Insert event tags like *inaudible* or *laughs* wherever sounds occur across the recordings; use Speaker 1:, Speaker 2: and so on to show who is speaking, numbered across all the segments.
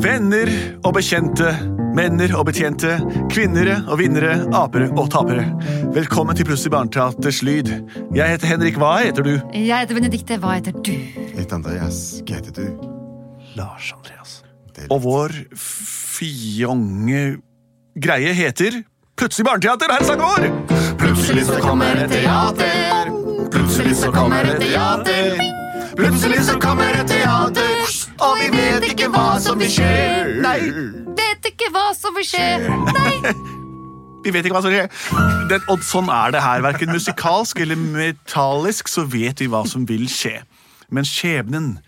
Speaker 1: Venner og bekjente, menner og betjente, kvinnere og vinnere, apere og tapere. Velkommen til Plutselig barneteaters lyd. Jeg heter Henrik, hva heter du?
Speaker 2: Jeg heter Benedikte, hva heter du?
Speaker 3: Litt Andreas, hva heter du?
Speaker 1: Lars Andreas.
Speaker 3: Det er litt-
Speaker 1: Og vår fjonge greie heter Plutselig barneteater, her er sangen vår!
Speaker 3: Plutselig så kommer et teater. Plutselig så kommer et teater. Plutselig så kommer et teater, og vi vet ikke hva som vil skje.
Speaker 1: Nei.
Speaker 2: Vet ikke hva som vil skje. Nei.
Speaker 1: Vi vet ikke hva som skjer. Den, og sånn er det her. Verken musikalsk eller metallisk så vet vi hva som vil skje. Men skjebnen,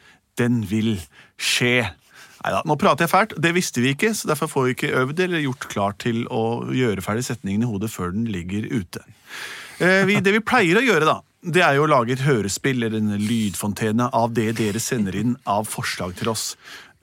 Speaker 1: den vil skje. Neida, nå prater jeg fælt. Det visste vi ikke, så derfor får vi ikke øvd eller gjort klart til å gjøre ferdig setningen i hodet før den ligger ute. Eh, vi, det vi pleier å gjøre, da, det er jo å lage et hørespill eller en lydfontene av det dere sender inn av forslag til oss.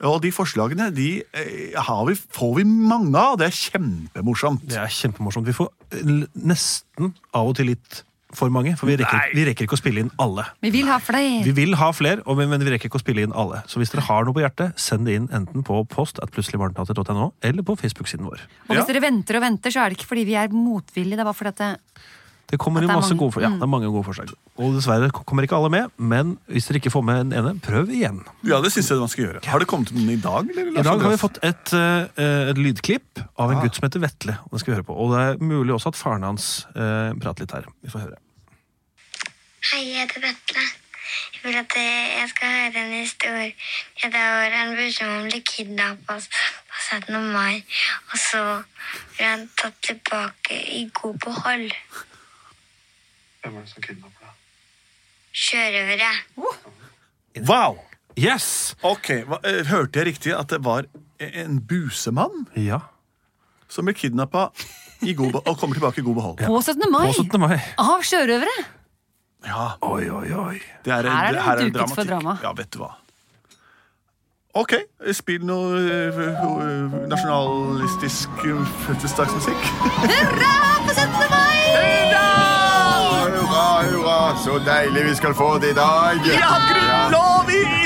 Speaker 1: Og de forslagene de eh, har vi, får vi mange av. Det er kjempemorsomt.
Speaker 4: Det er kjempemorsomt. Vi får eh, l- nesten av og til litt for mange, for vi rekker,
Speaker 1: Nei.
Speaker 4: vi rekker ikke å spille inn alle.
Speaker 2: Vi vil ha
Speaker 4: Vi
Speaker 2: flere.
Speaker 4: vil ha flere, og- men vi rekker ikke å spille inn alle. Så hvis dere har noe på hjertet, send det inn enten på post at plutseligbarneteater.no eller på Facebook-siden vår.
Speaker 2: Og hvis
Speaker 1: Ja.
Speaker 2: dere venter og venter, så er det ikke fordi vi er motvillige. Det er bare fordi at det,
Speaker 4: Det kommer
Speaker 2: At
Speaker 4: inn
Speaker 2: det er
Speaker 4: masse
Speaker 2: mange. Mm.
Speaker 4: gode, for- ja, det er mange gode forslag. Og dessverre k- kommer ikke alle med, men hvis dere ikke får med den ene, prøv igjen.
Speaker 1: Ja, det synes jeg man skal gjøre. Har det kommet noen i dag? Eller?
Speaker 4: I dag har vi fått et, eh, et lydklipp av en gutt som heter Vetle. Og det skal vi høre på. Og det er mulig også at faren hans eh, prater litt her. Vi får høre.
Speaker 5: Hei, jeg heter Vetle. Jeg vil at eh, jeg skal høre en historie. Det var en person som ble kidnappet og s- og satt noe mai. Og så ble han tatt tilbake i god behold.
Speaker 6: Hvem er det som kidnapper deg?
Speaker 5: Sjørøvere.
Speaker 1: Wow!
Speaker 4: Yes!
Speaker 1: Ok, hva- eh, Hørte jeg riktig at det var e, en busemann
Speaker 4: Ja.
Speaker 1: som ble kidnappa i god be- og kommer tilbake i god behold?
Speaker 2: på 17. mai
Speaker 4: På 17. mai.
Speaker 2: av sjørøvere.
Speaker 1: Ja,
Speaker 4: Oi, oi, oi.
Speaker 1: det er,
Speaker 2: Her er det
Speaker 1: her en
Speaker 2: duket for
Speaker 1: dramatikk.
Speaker 2: drama.
Speaker 1: Ja, vet du hva. Ok, spill noe eh, eh, nasjonalistisk eh, fødselsdagsmusikk.
Speaker 3: Hurra, hurra, så deilig vi skal få det i dag. Ja,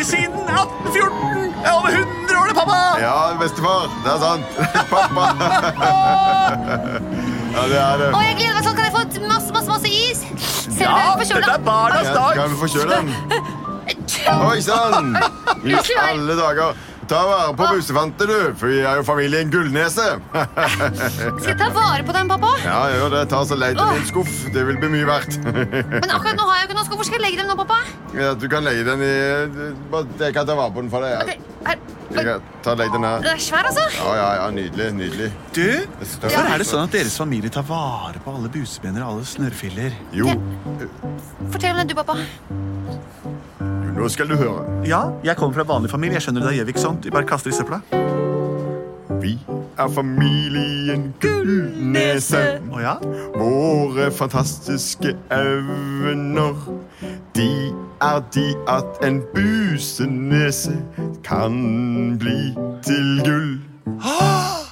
Speaker 1: i siden 1814! Jeg er over 100 år, det, pappa!
Speaker 3: ja bestefar. Det er sant. *laughs* Pappa. Ja, det er det.
Speaker 2: Å, jeg gleder meg sånn. Kan jeg få masse, masse, masse is? Selv om
Speaker 1: Ja, dette
Speaker 2: jeg er forkjøla.
Speaker 1: er barnas
Speaker 3: Ja,
Speaker 1: dag!
Speaker 3: Kan vi få kjøre den? Oi *laughs* sann! I alle dager. Ta vare på busefantet, du, for vi er jo familien Gullnese. *laughs*
Speaker 2: Skal jeg ta vare på dem, pappa?
Speaker 3: Ja, gjør det. Ta så leit i din skuff. Det vil bli mye verdt. *laughs*
Speaker 2: Men akkurat nå har jeg jo ikke noe sko. Hvor skal jeg legge dem nå, pappa?
Speaker 3: Ja, du kan legge den i bare- Jeg kan ta vare på den for deg.
Speaker 2: Det
Speaker 3: Jeg,
Speaker 2: er,
Speaker 3: jeg kan ta legge den her.
Speaker 2: det er svær, altså.
Speaker 3: Ja, ja, ja, nydelig. Nydelig.
Speaker 1: Du,
Speaker 3: Det er
Speaker 1: hvorfor
Speaker 3: større.
Speaker 1: er det sånn at deres familie tar vare på alle busebener og alle snørrfiller?
Speaker 3: Jo,
Speaker 2: Fortell om det, du, pappa.
Speaker 3: nå skal du høre.
Speaker 1: Ja, jeg kommer fra vanlig familie. Jeg skjønner det gjør vi ikke sånt. Vi bare kaster i søpla.
Speaker 3: Vi er familien Gullnese.
Speaker 1: Å ja?
Speaker 3: Våre fantastiske evner De er de at en busenese kan bli til gull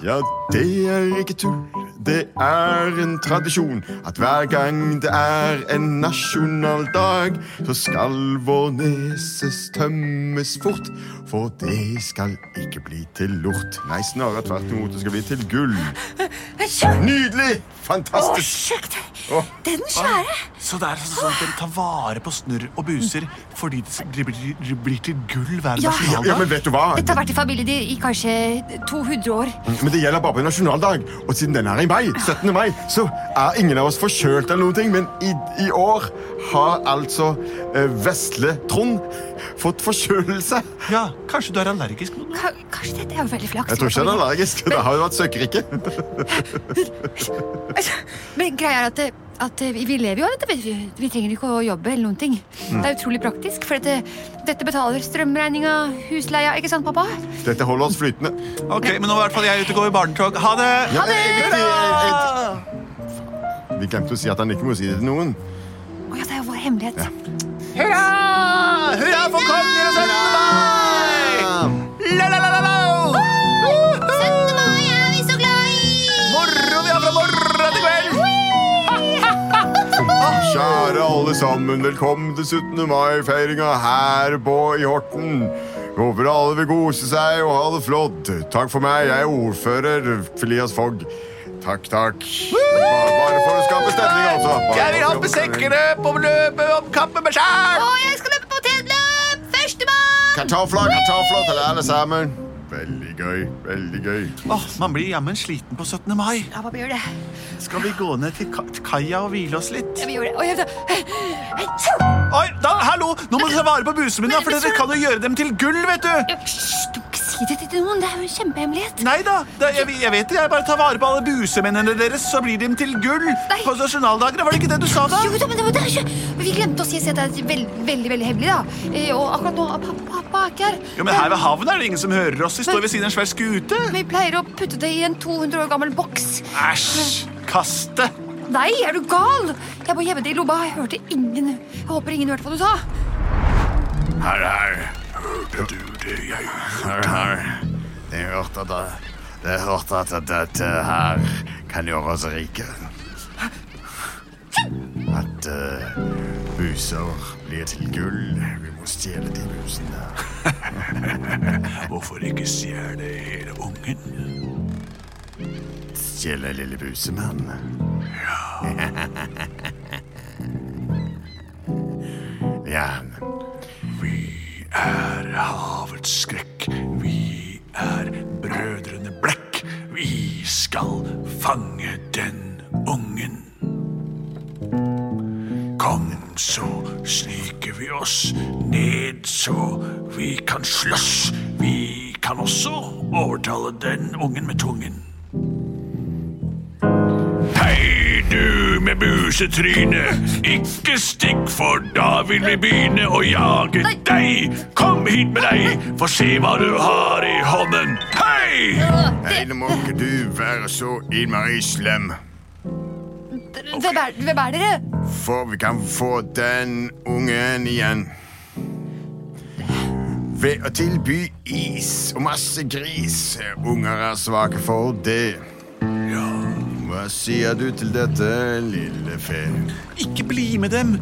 Speaker 3: Ja, det er ikke tull Det er en tradisjon At hver gang det er en nasjonaldag Så skal vår nese tømmes fort For det skal ikke bli til lort Nei, snarere tvert imot Det skal bli til gull Nydelig! Fantastisk!
Speaker 2: Kjekt.
Speaker 3: Åh.
Speaker 2: Den svære.
Speaker 1: Så det er sånn at dere tar vare på snørr og buser fordi det blir- blir, blir- blir til gull hver
Speaker 2: Ja.
Speaker 3: Ja, men
Speaker 1: nasjonaldag?
Speaker 3: vet du hva?
Speaker 2: Dette har vært i familieliv i kanskje 200 år.
Speaker 3: Men det gjelder bare på nasjonaldag. Og siden den er i mai, 17. mai, så er ingen av oss forkjølt eller noen ting. Men i, i år har altså eh, vesle Trond fått forkjølelse.
Speaker 1: Ja, kanskje du er allergisk mot noe?
Speaker 2: Ka- Kanskje dette er jo veldig flaks.
Speaker 3: Jeg tror ikke han er allergisk. Det har jo vært søkkrike.
Speaker 2: *laughs* Men greia er at, det, at eh, vi vi lever jo av dette. Vi, vi trenger ikke å jobbe eller noen ting. Det er utrolig praktisk, for dette, dette betaler strømregninga, husleia, ikke sant, pappa?
Speaker 3: Dette holder oss flytende.
Speaker 1: Ok, Men nå er i hvert fall jeg ute og går i barnetog. Ha det!
Speaker 3: Ja, det er viktig. Vi glemte å si at han ikke må si det til noen.
Speaker 2: Å ja, det er jo vår hemmelighet.
Speaker 1: Hurra! Hurra for konger og 17. mai! La, la, la, la, la!
Speaker 2: 17. mai er vi så glad i!
Speaker 1: Moro vi har fra morgen til kveld!
Speaker 3: Ah, Kjære alle sammen, velkommen til 17. mai-feiringa her på i Horten. Håper alle vil kose seg og ha det flott. Takk for meg, jeg er ordfører Felias Fogg. Takk, takk. Bare, bare for å skape stemning, altså. Bare
Speaker 1: Jeg vil
Speaker 3: for å
Speaker 1: hoppe
Speaker 3: skape stemning.
Speaker 1: sekkene på løpet om kappen med skjær!
Speaker 2: Og jeg skal løpe potetløp! 1. mai!
Speaker 3: Kartofler, kartofler til alle sammen. Veldig gøy, veldig gøy.
Speaker 1: Åh, Man blir jammen sliten på 17. mai.
Speaker 2: Ja, pappa gjør det.
Speaker 1: Skal vi gå ned til ka- til kaia og hvile oss litt?
Speaker 2: Ja, vi gjør det. Å, jeg,
Speaker 1: Oi, da, hallo! Nå må du ta vare på busene mine, da, for
Speaker 2: Men-
Speaker 1: dere kan jo gjøre dem til gull, vet du!
Speaker 2: Ja, Hysj, du må ikke si det til noen. Det er jo en kjempehemmelighet.
Speaker 1: Nei da, det, jeg, jeg vet det. Jeg bare tar vare på alle busemennene deres, så blir de til gull.
Speaker 2: Nei.
Speaker 1: På nasjonaldagene, var det ikke det du sa da?
Speaker 2: Jo da, men det var det er ikke- Vi glemte å si at det er veld, veldig veldig hemmelig. da. Eh, Og akkurat nå pappa, pappa er ikke her.
Speaker 1: Jo, men her ved havnen er det ingen som hører oss. Vi står ved siden av en svær skute.
Speaker 2: Vi pleier å putte det i en 200 år gammel boks.
Speaker 1: Æsj! Kast det!
Speaker 2: Nei, er du gal? Jeg må gjemme det i lomma. Jeg hørte ingen Jeg håper ingen hørte hva du sa.
Speaker 3: Her, her. Hørte du det jeg Her, her. Jeg hørte at jeg hørte at dette her kan gjøre oss rike. At eh, buser blir til gull. Vi må stjele de *laughs* busene.
Speaker 1: Hvorfor ikke stjele hele ungen?
Speaker 3: Stjele lille busemann. *laughs* Ja. ja.
Speaker 1: Vi er havets skrekk. Vi er brødrene Blekk. Vi skal fange den ungen. Kom, så sniker vi oss ned, så vi kan slåss. Vi kan også overtale den ungen med tungen. Hei, du med busetryne. Ikke stikk, for da vil vi begynne å jage deg. Kom hit med deg, få se hva du har i hånden. Hei!
Speaker 3: Hei, nå må ikke du være så innmari slem,
Speaker 2: Hvem er, hvem er dere?
Speaker 3: for vi kan få den ungen igjen. Ved å tilby is og masse gris. Unger er svake for det.
Speaker 1: Ja.
Speaker 3: Hva sier du til dette, lille fe?
Speaker 1: Ikke bli med dem.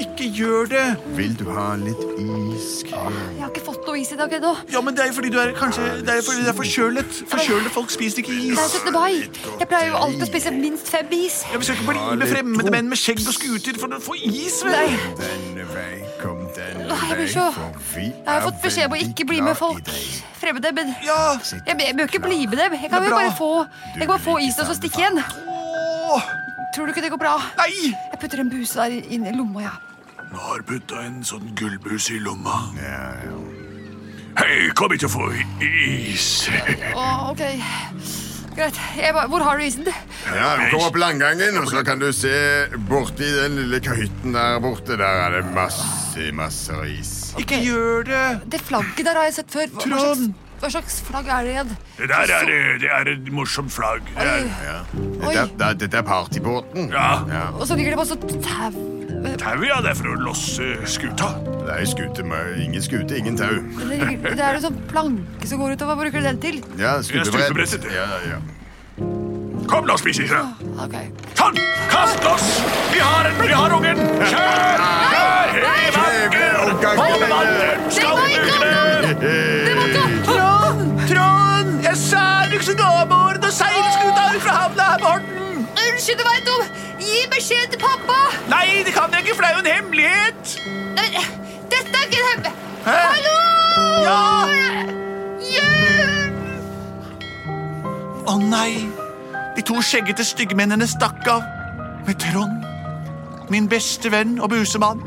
Speaker 1: Ikke gjør det.
Speaker 3: Vil du ha litt is?
Speaker 2: Jeg har ikke fått noe is i dag ennå.
Speaker 1: Ja, men det er jo fordi du er kanskje Det er jo fordi du er forkjølet. Forkjølede folk spiser ikke
Speaker 2: Det er
Speaker 1: is.
Speaker 2: 17. mai. Jeg pleier jo alltid å spise minst fem is.
Speaker 1: Ja, vi skal ikke bli med fremmede menn med skjegg og skuter for å få is, vel?
Speaker 2: Nei.
Speaker 3: Denne vei, kom denne
Speaker 2: Nei, jeg
Speaker 3: vei,
Speaker 2: blir så
Speaker 3: for vi
Speaker 2: Jeg har fått beskjed om å ikke bli med folk fremmede, men jeg,
Speaker 1: Ja.
Speaker 2: jeg bør ikke bli med dem. Jeg kan
Speaker 1: Det er
Speaker 2: jo
Speaker 1: bra.
Speaker 2: bare få, jeg kan bare få isen og så stikke igjen.
Speaker 1: Åh,
Speaker 2: Tror du ikke det går bra?
Speaker 1: nei!
Speaker 2: Jeg putter en buse der inn i lomma, ja.
Speaker 1: Nå har putta en sånn gullbus i lomma.
Speaker 3: Ja, ja.
Speaker 1: Hei, kom hit og få i- is.
Speaker 2: Å, ok. Greit. Jeg bare, hvor har du isen?
Speaker 3: Ja, vi kommer opp landgangen, og så kan du se borti den lille hytten der borte. Der er det masse, masse is.
Speaker 1: Ikke gjør det.
Speaker 2: Det flagget der har jeg sett før. Hva, hva, slags,
Speaker 1: Trond!
Speaker 2: hva slags flagg er det igjen?
Speaker 1: Det der er, eh, det er et morsomt flagg. Det er,
Speaker 3: Ja.
Speaker 2: Oi.
Speaker 3: Dette, er- det- dette er partybåten.
Speaker 1: ja,
Speaker 2: Og så ligger det masse tau.
Speaker 1: tau, ja. Det er for å losse skuta.
Speaker 3: Det er jo skute med ingen skute, ingen tau.
Speaker 2: Det, ligger- det er en sånn planke som går ut, og hva bruker du den til?
Speaker 3: Ja,
Speaker 1: stupebrettet.
Speaker 3: skutebrett. Ja, ja.
Speaker 1: Kom, la oss spise isen.
Speaker 2: Ok.
Speaker 1: Sånn! Kast loss! Vi har en, vi har ungen! Kjør! Kjør! Hev anker!
Speaker 3: Kjeve omgang.
Speaker 1: Hold vannet! Skal vi bruke det? Trond! Trond! Jeg sa du ikke skulle gå om året og seile skuta ut fra havna her, Morten!
Speaker 2: Unnskyld, du veit om! Gi beskjed til pappa!
Speaker 1: Nei, det kan jeg ikke, for det er jo en hemmelighet!
Speaker 2: Nei, men, dette er ikke en hemmelig...
Speaker 1: Hæ?
Speaker 2: Hallo!
Speaker 1: Ja!
Speaker 2: Hjelp!
Speaker 1: Å nei! De to skjeggete styggmennene stakk av med Trond, min beste venn og busemann.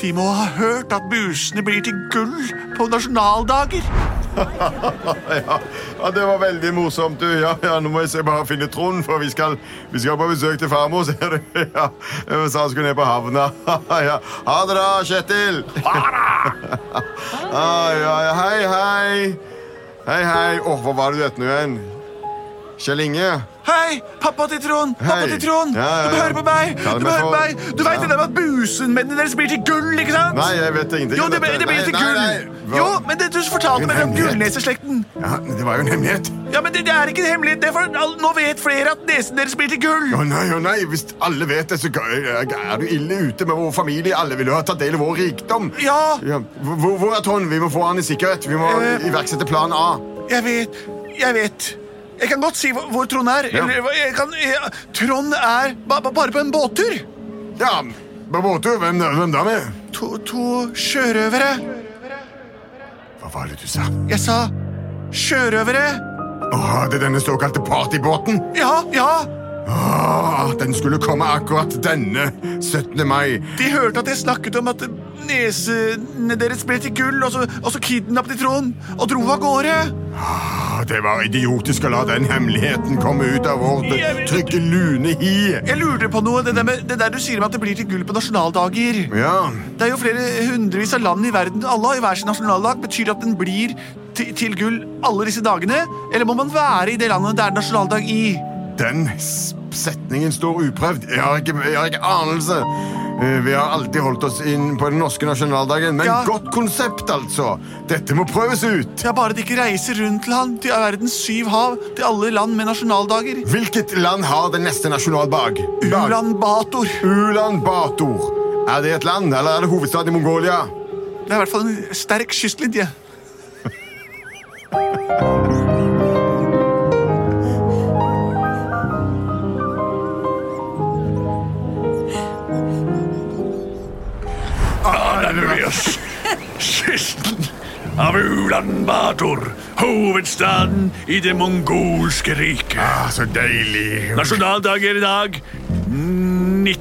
Speaker 1: De må ha hørt at busene blir til gull på nasjonaldager.
Speaker 3: *laughs* ja. ja, det var veldig morsomt. Du. Ja, ja, nå må jeg se bare finne Trond, for vi skal, vi skal på besøk til farmor, ser du. *laughs* Ja. Jeg sa han skulle ned på havna. *laughs* ja. Ha det da, Kjetil. Ha det! ah, *laughs* ja, ja. Hei, hei. Hei, hei. Åh, hva var det du het nå igjen? Kjell Inge?
Speaker 1: Hei! Pappa til Trond! Pappa
Speaker 3: Hei.
Speaker 1: til Trond!
Speaker 3: Ja, ja,
Speaker 1: Du må
Speaker 3: ja.
Speaker 1: høre på meg!
Speaker 3: Kall
Speaker 1: Du må
Speaker 3: meg
Speaker 1: høre på
Speaker 3: for-
Speaker 1: meg! Du veit
Speaker 3: Ja.
Speaker 1: det der med at busenmennene deres blir til gull, ikke sant?
Speaker 3: Nei, jeg vet ingenting
Speaker 1: Jo,
Speaker 3: om
Speaker 1: det, ble-
Speaker 3: dette.
Speaker 1: det blir til
Speaker 3: Nei,
Speaker 1: gull!
Speaker 3: nei, nei. Hva-
Speaker 1: Jo, men det, du fortalte meg om
Speaker 3: Hemmelighet.
Speaker 1: gullneseslekten.
Speaker 3: Ja, men det var jo en hemmelighet.
Speaker 1: Ja, men det, det er ikke en hemmelighet. Det er for, all- nå vet flere at nesen deres blir til gull.
Speaker 3: Å nei, å nei, hvis alle vet det, så er er du ille ute med vår familie. Alle vil jo ha tatt del i vår rikdom.
Speaker 1: Ja.
Speaker 3: Hvor, hvor- hvor er Trond? Vi må få han i sikkerhet. Vi må
Speaker 1: Eh.
Speaker 3: iverksette plan A.
Speaker 1: Jeg vet. Jeg vet. Jeg kan godt si hvor, hvor Trond er.
Speaker 3: Ja.
Speaker 1: Eller, hva- jeg kan, jeg, Trond er ba, ba, bare på en båttur.
Speaker 3: Ja, på båttur. Hvem, hvem da med?
Speaker 1: To, to sjørøvere.
Speaker 3: Hva var det du sa?
Speaker 1: Jeg sa sjørøvere.
Speaker 3: Åh, det er denne såkalte partybåten.
Speaker 1: Ja, ja.
Speaker 3: Åh, den skulle komme akkurat denne 17. mai.
Speaker 1: De hørte at jeg snakket om at nesene deres ble til gull, og så, og så kidnappet de Trond og dro av gårde.
Speaker 3: Åh, det var idiotisk å la den hemmeligheten komme ut av vår trygge lune hi.
Speaker 1: Jeg lurer på noe. Det der, med, det der du sier om at det blir til gull på nasjonaldager.
Speaker 3: Ja,
Speaker 1: Det er jo flere hundrevis av land i verden. Alle har jo hver sin nasjonaldag. Betyr det at den blir til, til gull alle disse dagene? Eller må man være i det landet det er nasjonaldag i?
Speaker 3: Den s- setningen står uprøvd. Jeg har ikke, jeg har ikke anelse. Eh, Vi har alltid holdt oss inn på den norske nasjonaldagen, men
Speaker 1: Ja.
Speaker 3: godt konsept, altså. Dette må prøves ut.
Speaker 1: Ja, bare de ikke reiser rundt til han, til verdens syv hav, til alle land med nasjonaldager.
Speaker 3: Hvilket land har den neste nasjonaldag? Dag.
Speaker 1: Ulan Bator.
Speaker 3: Ulan Bator. Er det et land, eller er det hovedstaden i Mongolia?
Speaker 1: Det er i hvert fall en sterk kystlinje.
Speaker 7: Ananias, kysten av Ulan-Bator, hovedstaden i det mongolske riket.
Speaker 3: Ah, så deilig.
Speaker 7: Nasjonaldag er i dag 19.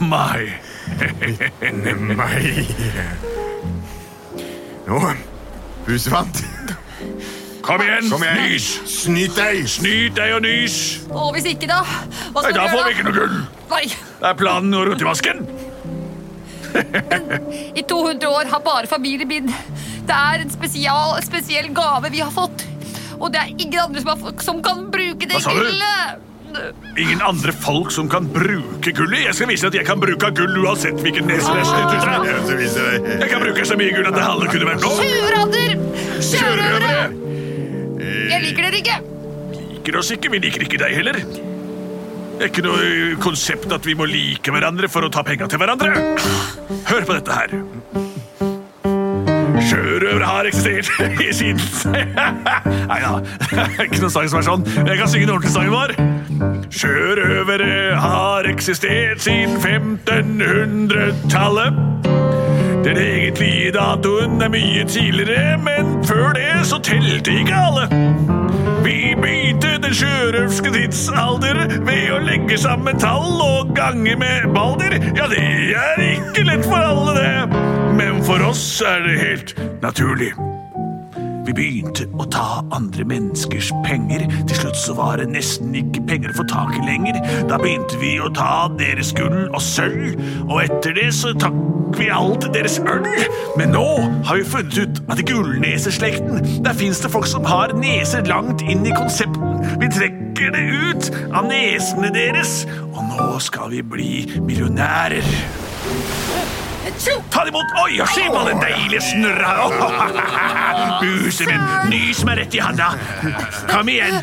Speaker 7: mai.
Speaker 3: Nei. Nå, husefant.
Speaker 7: Kom igjen,
Speaker 3: Kom igjen.
Speaker 7: nys!
Speaker 3: Snyt deg.
Speaker 7: Nyt deg og nys!
Speaker 8: Å, hvis ikke, da? Hva
Speaker 7: Nei,
Speaker 8: skal
Speaker 7: da
Speaker 8: vi
Speaker 7: får vi
Speaker 8: gjøre,
Speaker 7: ikke noe gull.
Speaker 8: da? Nei,
Speaker 7: Det er planen å rote i vasken.
Speaker 8: I 200 år har bare familien min Det er en spesial, spesiell gave vi har fått. Og det er ingen andre som, har, fått- som kan bruke det
Speaker 7: Hva sa du?
Speaker 8: gullet.
Speaker 7: Ingen andre folk som kan bruke gullet. Jeg skal vise at jeg kan bruke gull uansett hvilken nese det er snitt ut fra.
Speaker 3: Jeg skal vise deg.
Speaker 7: Jeg kan bruke så mye gull at det halve kunne vært nok.
Speaker 8: Tjuvradder! Sjørøvere!
Speaker 7: Sjørøvere!
Speaker 8: Jeg liker dere ikke.
Speaker 7: liker oss ikke. Vi liker ikke deg heller. Det er ikke noe ø, konsept at vi må like hverandre for å ta penga til hverandre. Hør på dette her. Sjørøvere har eksistert *laughs* i siden Nei da, *laughs* ikke noen sang som er sånn. Men Jeg kan synge den ordentlige sangen vår. Sjørøvere har eksistert siden 1500-tallet. Den egentlige datoen er mye tidligere, men før det så telte ikke alle. Vi begynte den sjørøverske tidsalder ved å legge sammen tall og gange med balder. Ja, det er ikke lett for alle, det. Men for oss er det helt naturlig. Vi begynte å ta andre menneskers penger. Til slutt så var det nesten ikke penger å få tak i lenger. Da begynte vi å ta deres gull og sølv, og etter det så takk vi alt deres øl. Men nå har vi funnet ut at i gullneseslekten, der fins det folk som har neser langt inn i konsepten. Vi trekker det ut av nesene deres, og nå skal vi bli millionærer. Ta det imot! Oi, ja, se på den deilige snørra! *laughs* Åh, Buset min, nys meg rett i handa. Kom igjen.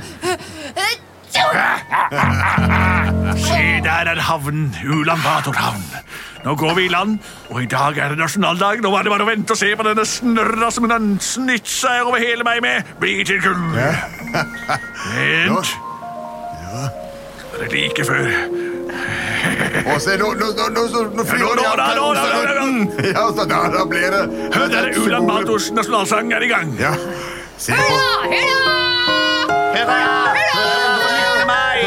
Speaker 7: Se, der er havnen. Ulan Bator-havn. Nå går vi i land, og i dag er det nasjonaldag. Nå var det bare å vente og se på denne snørra som hun har snytt seg over hele meg med. Bli til gull. Vent. Det er like før.
Speaker 3: Og se, nå, nå, nå, nå, nå- nå flyr
Speaker 7: Ja, nå,
Speaker 3: de av
Speaker 7: nå, nå, nå, nå, nå, nå.
Speaker 3: piloten. Ja, så da, da blir det
Speaker 7: Hør, der er Ulan Bators nasjonalsang er i gang.
Speaker 3: Ja. Se på
Speaker 8: Ja, hurra!
Speaker 1: Hurra! Hurra!
Speaker 8: Hurra meg!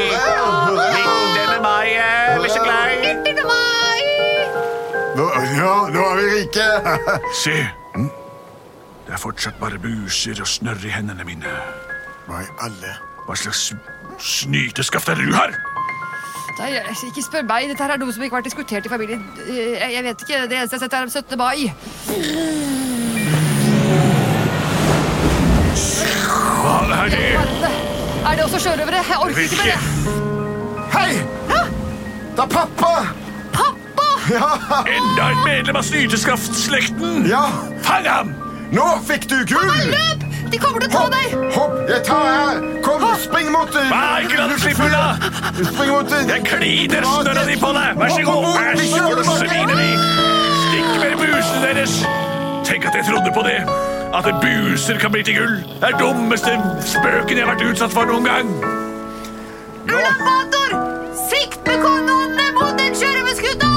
Speaker 3: Nå- Ja, nå er vi rike.
Speaker 7: Se. Hm? Det er fortsatt bare buser og snørr i hendene mine.
Speaker 3: Hva i alle
Speaker 7: Hva slags snyteskaft er du her?
Speaker 8: Nei, jeg- ikke spør meg. Dette her er noe som ikke har vært diskutert i familien. Eh, Jeg jeg vet ikke. Det eneste jeg har sett, er om 17. mai.
Speaker 7: Hva er det?
Speaker 8: Er det også sjørøvere? Jeg orker ikke mer. jeg.
Speaker 7: Hvilke?
Speaker 3: Hei! Det er pappa!
Speaker 7: Enda et medlem av snyteskaftslekten!
Speaker 3: Ja,
Speaker 7: Fang ham!
Speaker 3: nå fikk du gull!
Speaker 8: Løp! De kommer til å ta
Speaker 3: Hopp,
Speaker 8: deg!
Speaker 3: hopp, jeg tar her! Kom, spring mot uh,
Speaker 7: Nei, ikke la den slippe unna!
Speaker 3: Spring mot uh,
Speaker 7: Jeg kliner snørra di på deg! Vær så god, vær så god, svineri! Stikk med busene deres! Tenk at jeg trodde på det! At buser kan bli til gull! Det er dummeste spøken jeg har vært utsatt for noen gang!
Speaker 8: Ulamator! Sikt med kanonene mot den sjørøverskutta!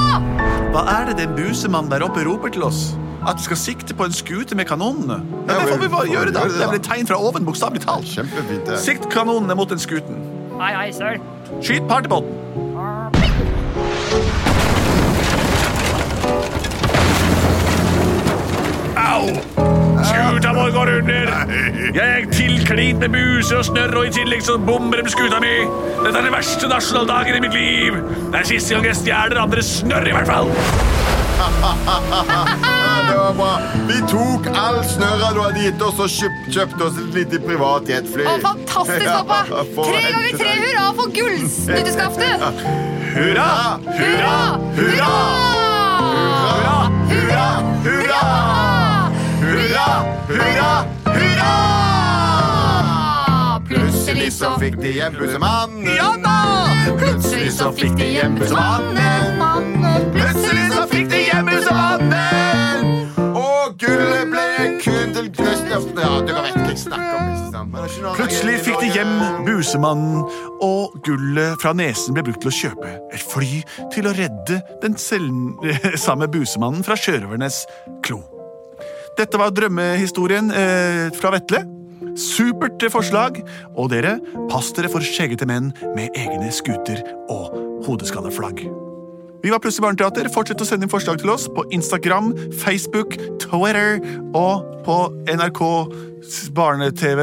Speaker 1: Hva er det den busemannen der oppe roper til oss? At vi skal sikte på en skute med kanonene? Ja,
Speaker 3: Ja,
Speaker 1: det får
Speaker 3: vi
Speaker 1: vi bare
Speaker 3: får
Speaker 1: gjøre, da.
Speaker 3: gjøre det,
Speaker 1: Det er
Speaker 3: da.
Speaker 1: vel et tegn fra oven, bokstavelig talt.
Speaker 3: Kjempefint, det.
Speaker 1: Sikt kanonene mot den skuten.
Speaker 8: Hei, hei, søren.
Speaker 1: Skyt partybåten.
Speaker 7: Au! Skuta vår går under! Jeg er tilklint med buse og snørr, og i tillegg så bomber de skuta mi! Dette er den verste nasjonaldagen i mitt liv! Det er siste gang jeg stjeler andres snørr, i hvert fall!
Speaker 3: Ja, det var bra. Vi tok all snørra du hadde gitt oss, og kjøpt, kjøpte oss et lite privat jetfly.
Speaker 8: Å, fantastisk, pappa!
Speaker 3: *laughs* Ja, for
Speaker 8: Tre
Speaker 3: en
Speaker 8: ganger tre
Speaker 3: dag.
Speaker 8: hurra for gullsnytteskaftet!
Speaker 3: Hurra! Hurra! Hurra! Hurra! Hurra! Hurra! Hurra! Hurra! Hurra! Plutselig så fikk de en bussemannen.
Speaker 8: Ja da! Plutselig så fikk de hjem bussemannen. Mannen.
Speaker 3: Plutselig så fikk de hjem bussemannen. Og gullet ble kun til Kristiansen. Ja, du kan vet ikke snakke om bussemannen.
Speaker 1: Plutselig fikk de hjem busemannen, og gullet fra nesen ble brukt til å kjøpe et fly til å redde den selv, samme busemannen fra sjørøvernes klo. Dette var drømmehistorien eh, fra Vetle. Supert forslag. Og dere, pass dere for skjeggete menn med egne skuter og hodeskalleflagg. Vi var Plutselig barneteater. Fortsett å sende inn forslag til oss på Instagram, Facebook, Twitter og på NRK barne-TV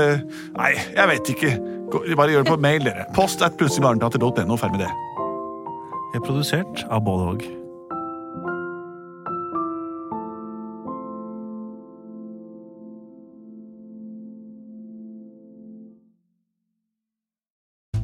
Speaker 1: Nei, jeg vet ikke. Gå- Bare gjør det på mail, dere. Post at plutseligbarneteater.no. Ferdig med det.
Speaker 4: er produsert av både og.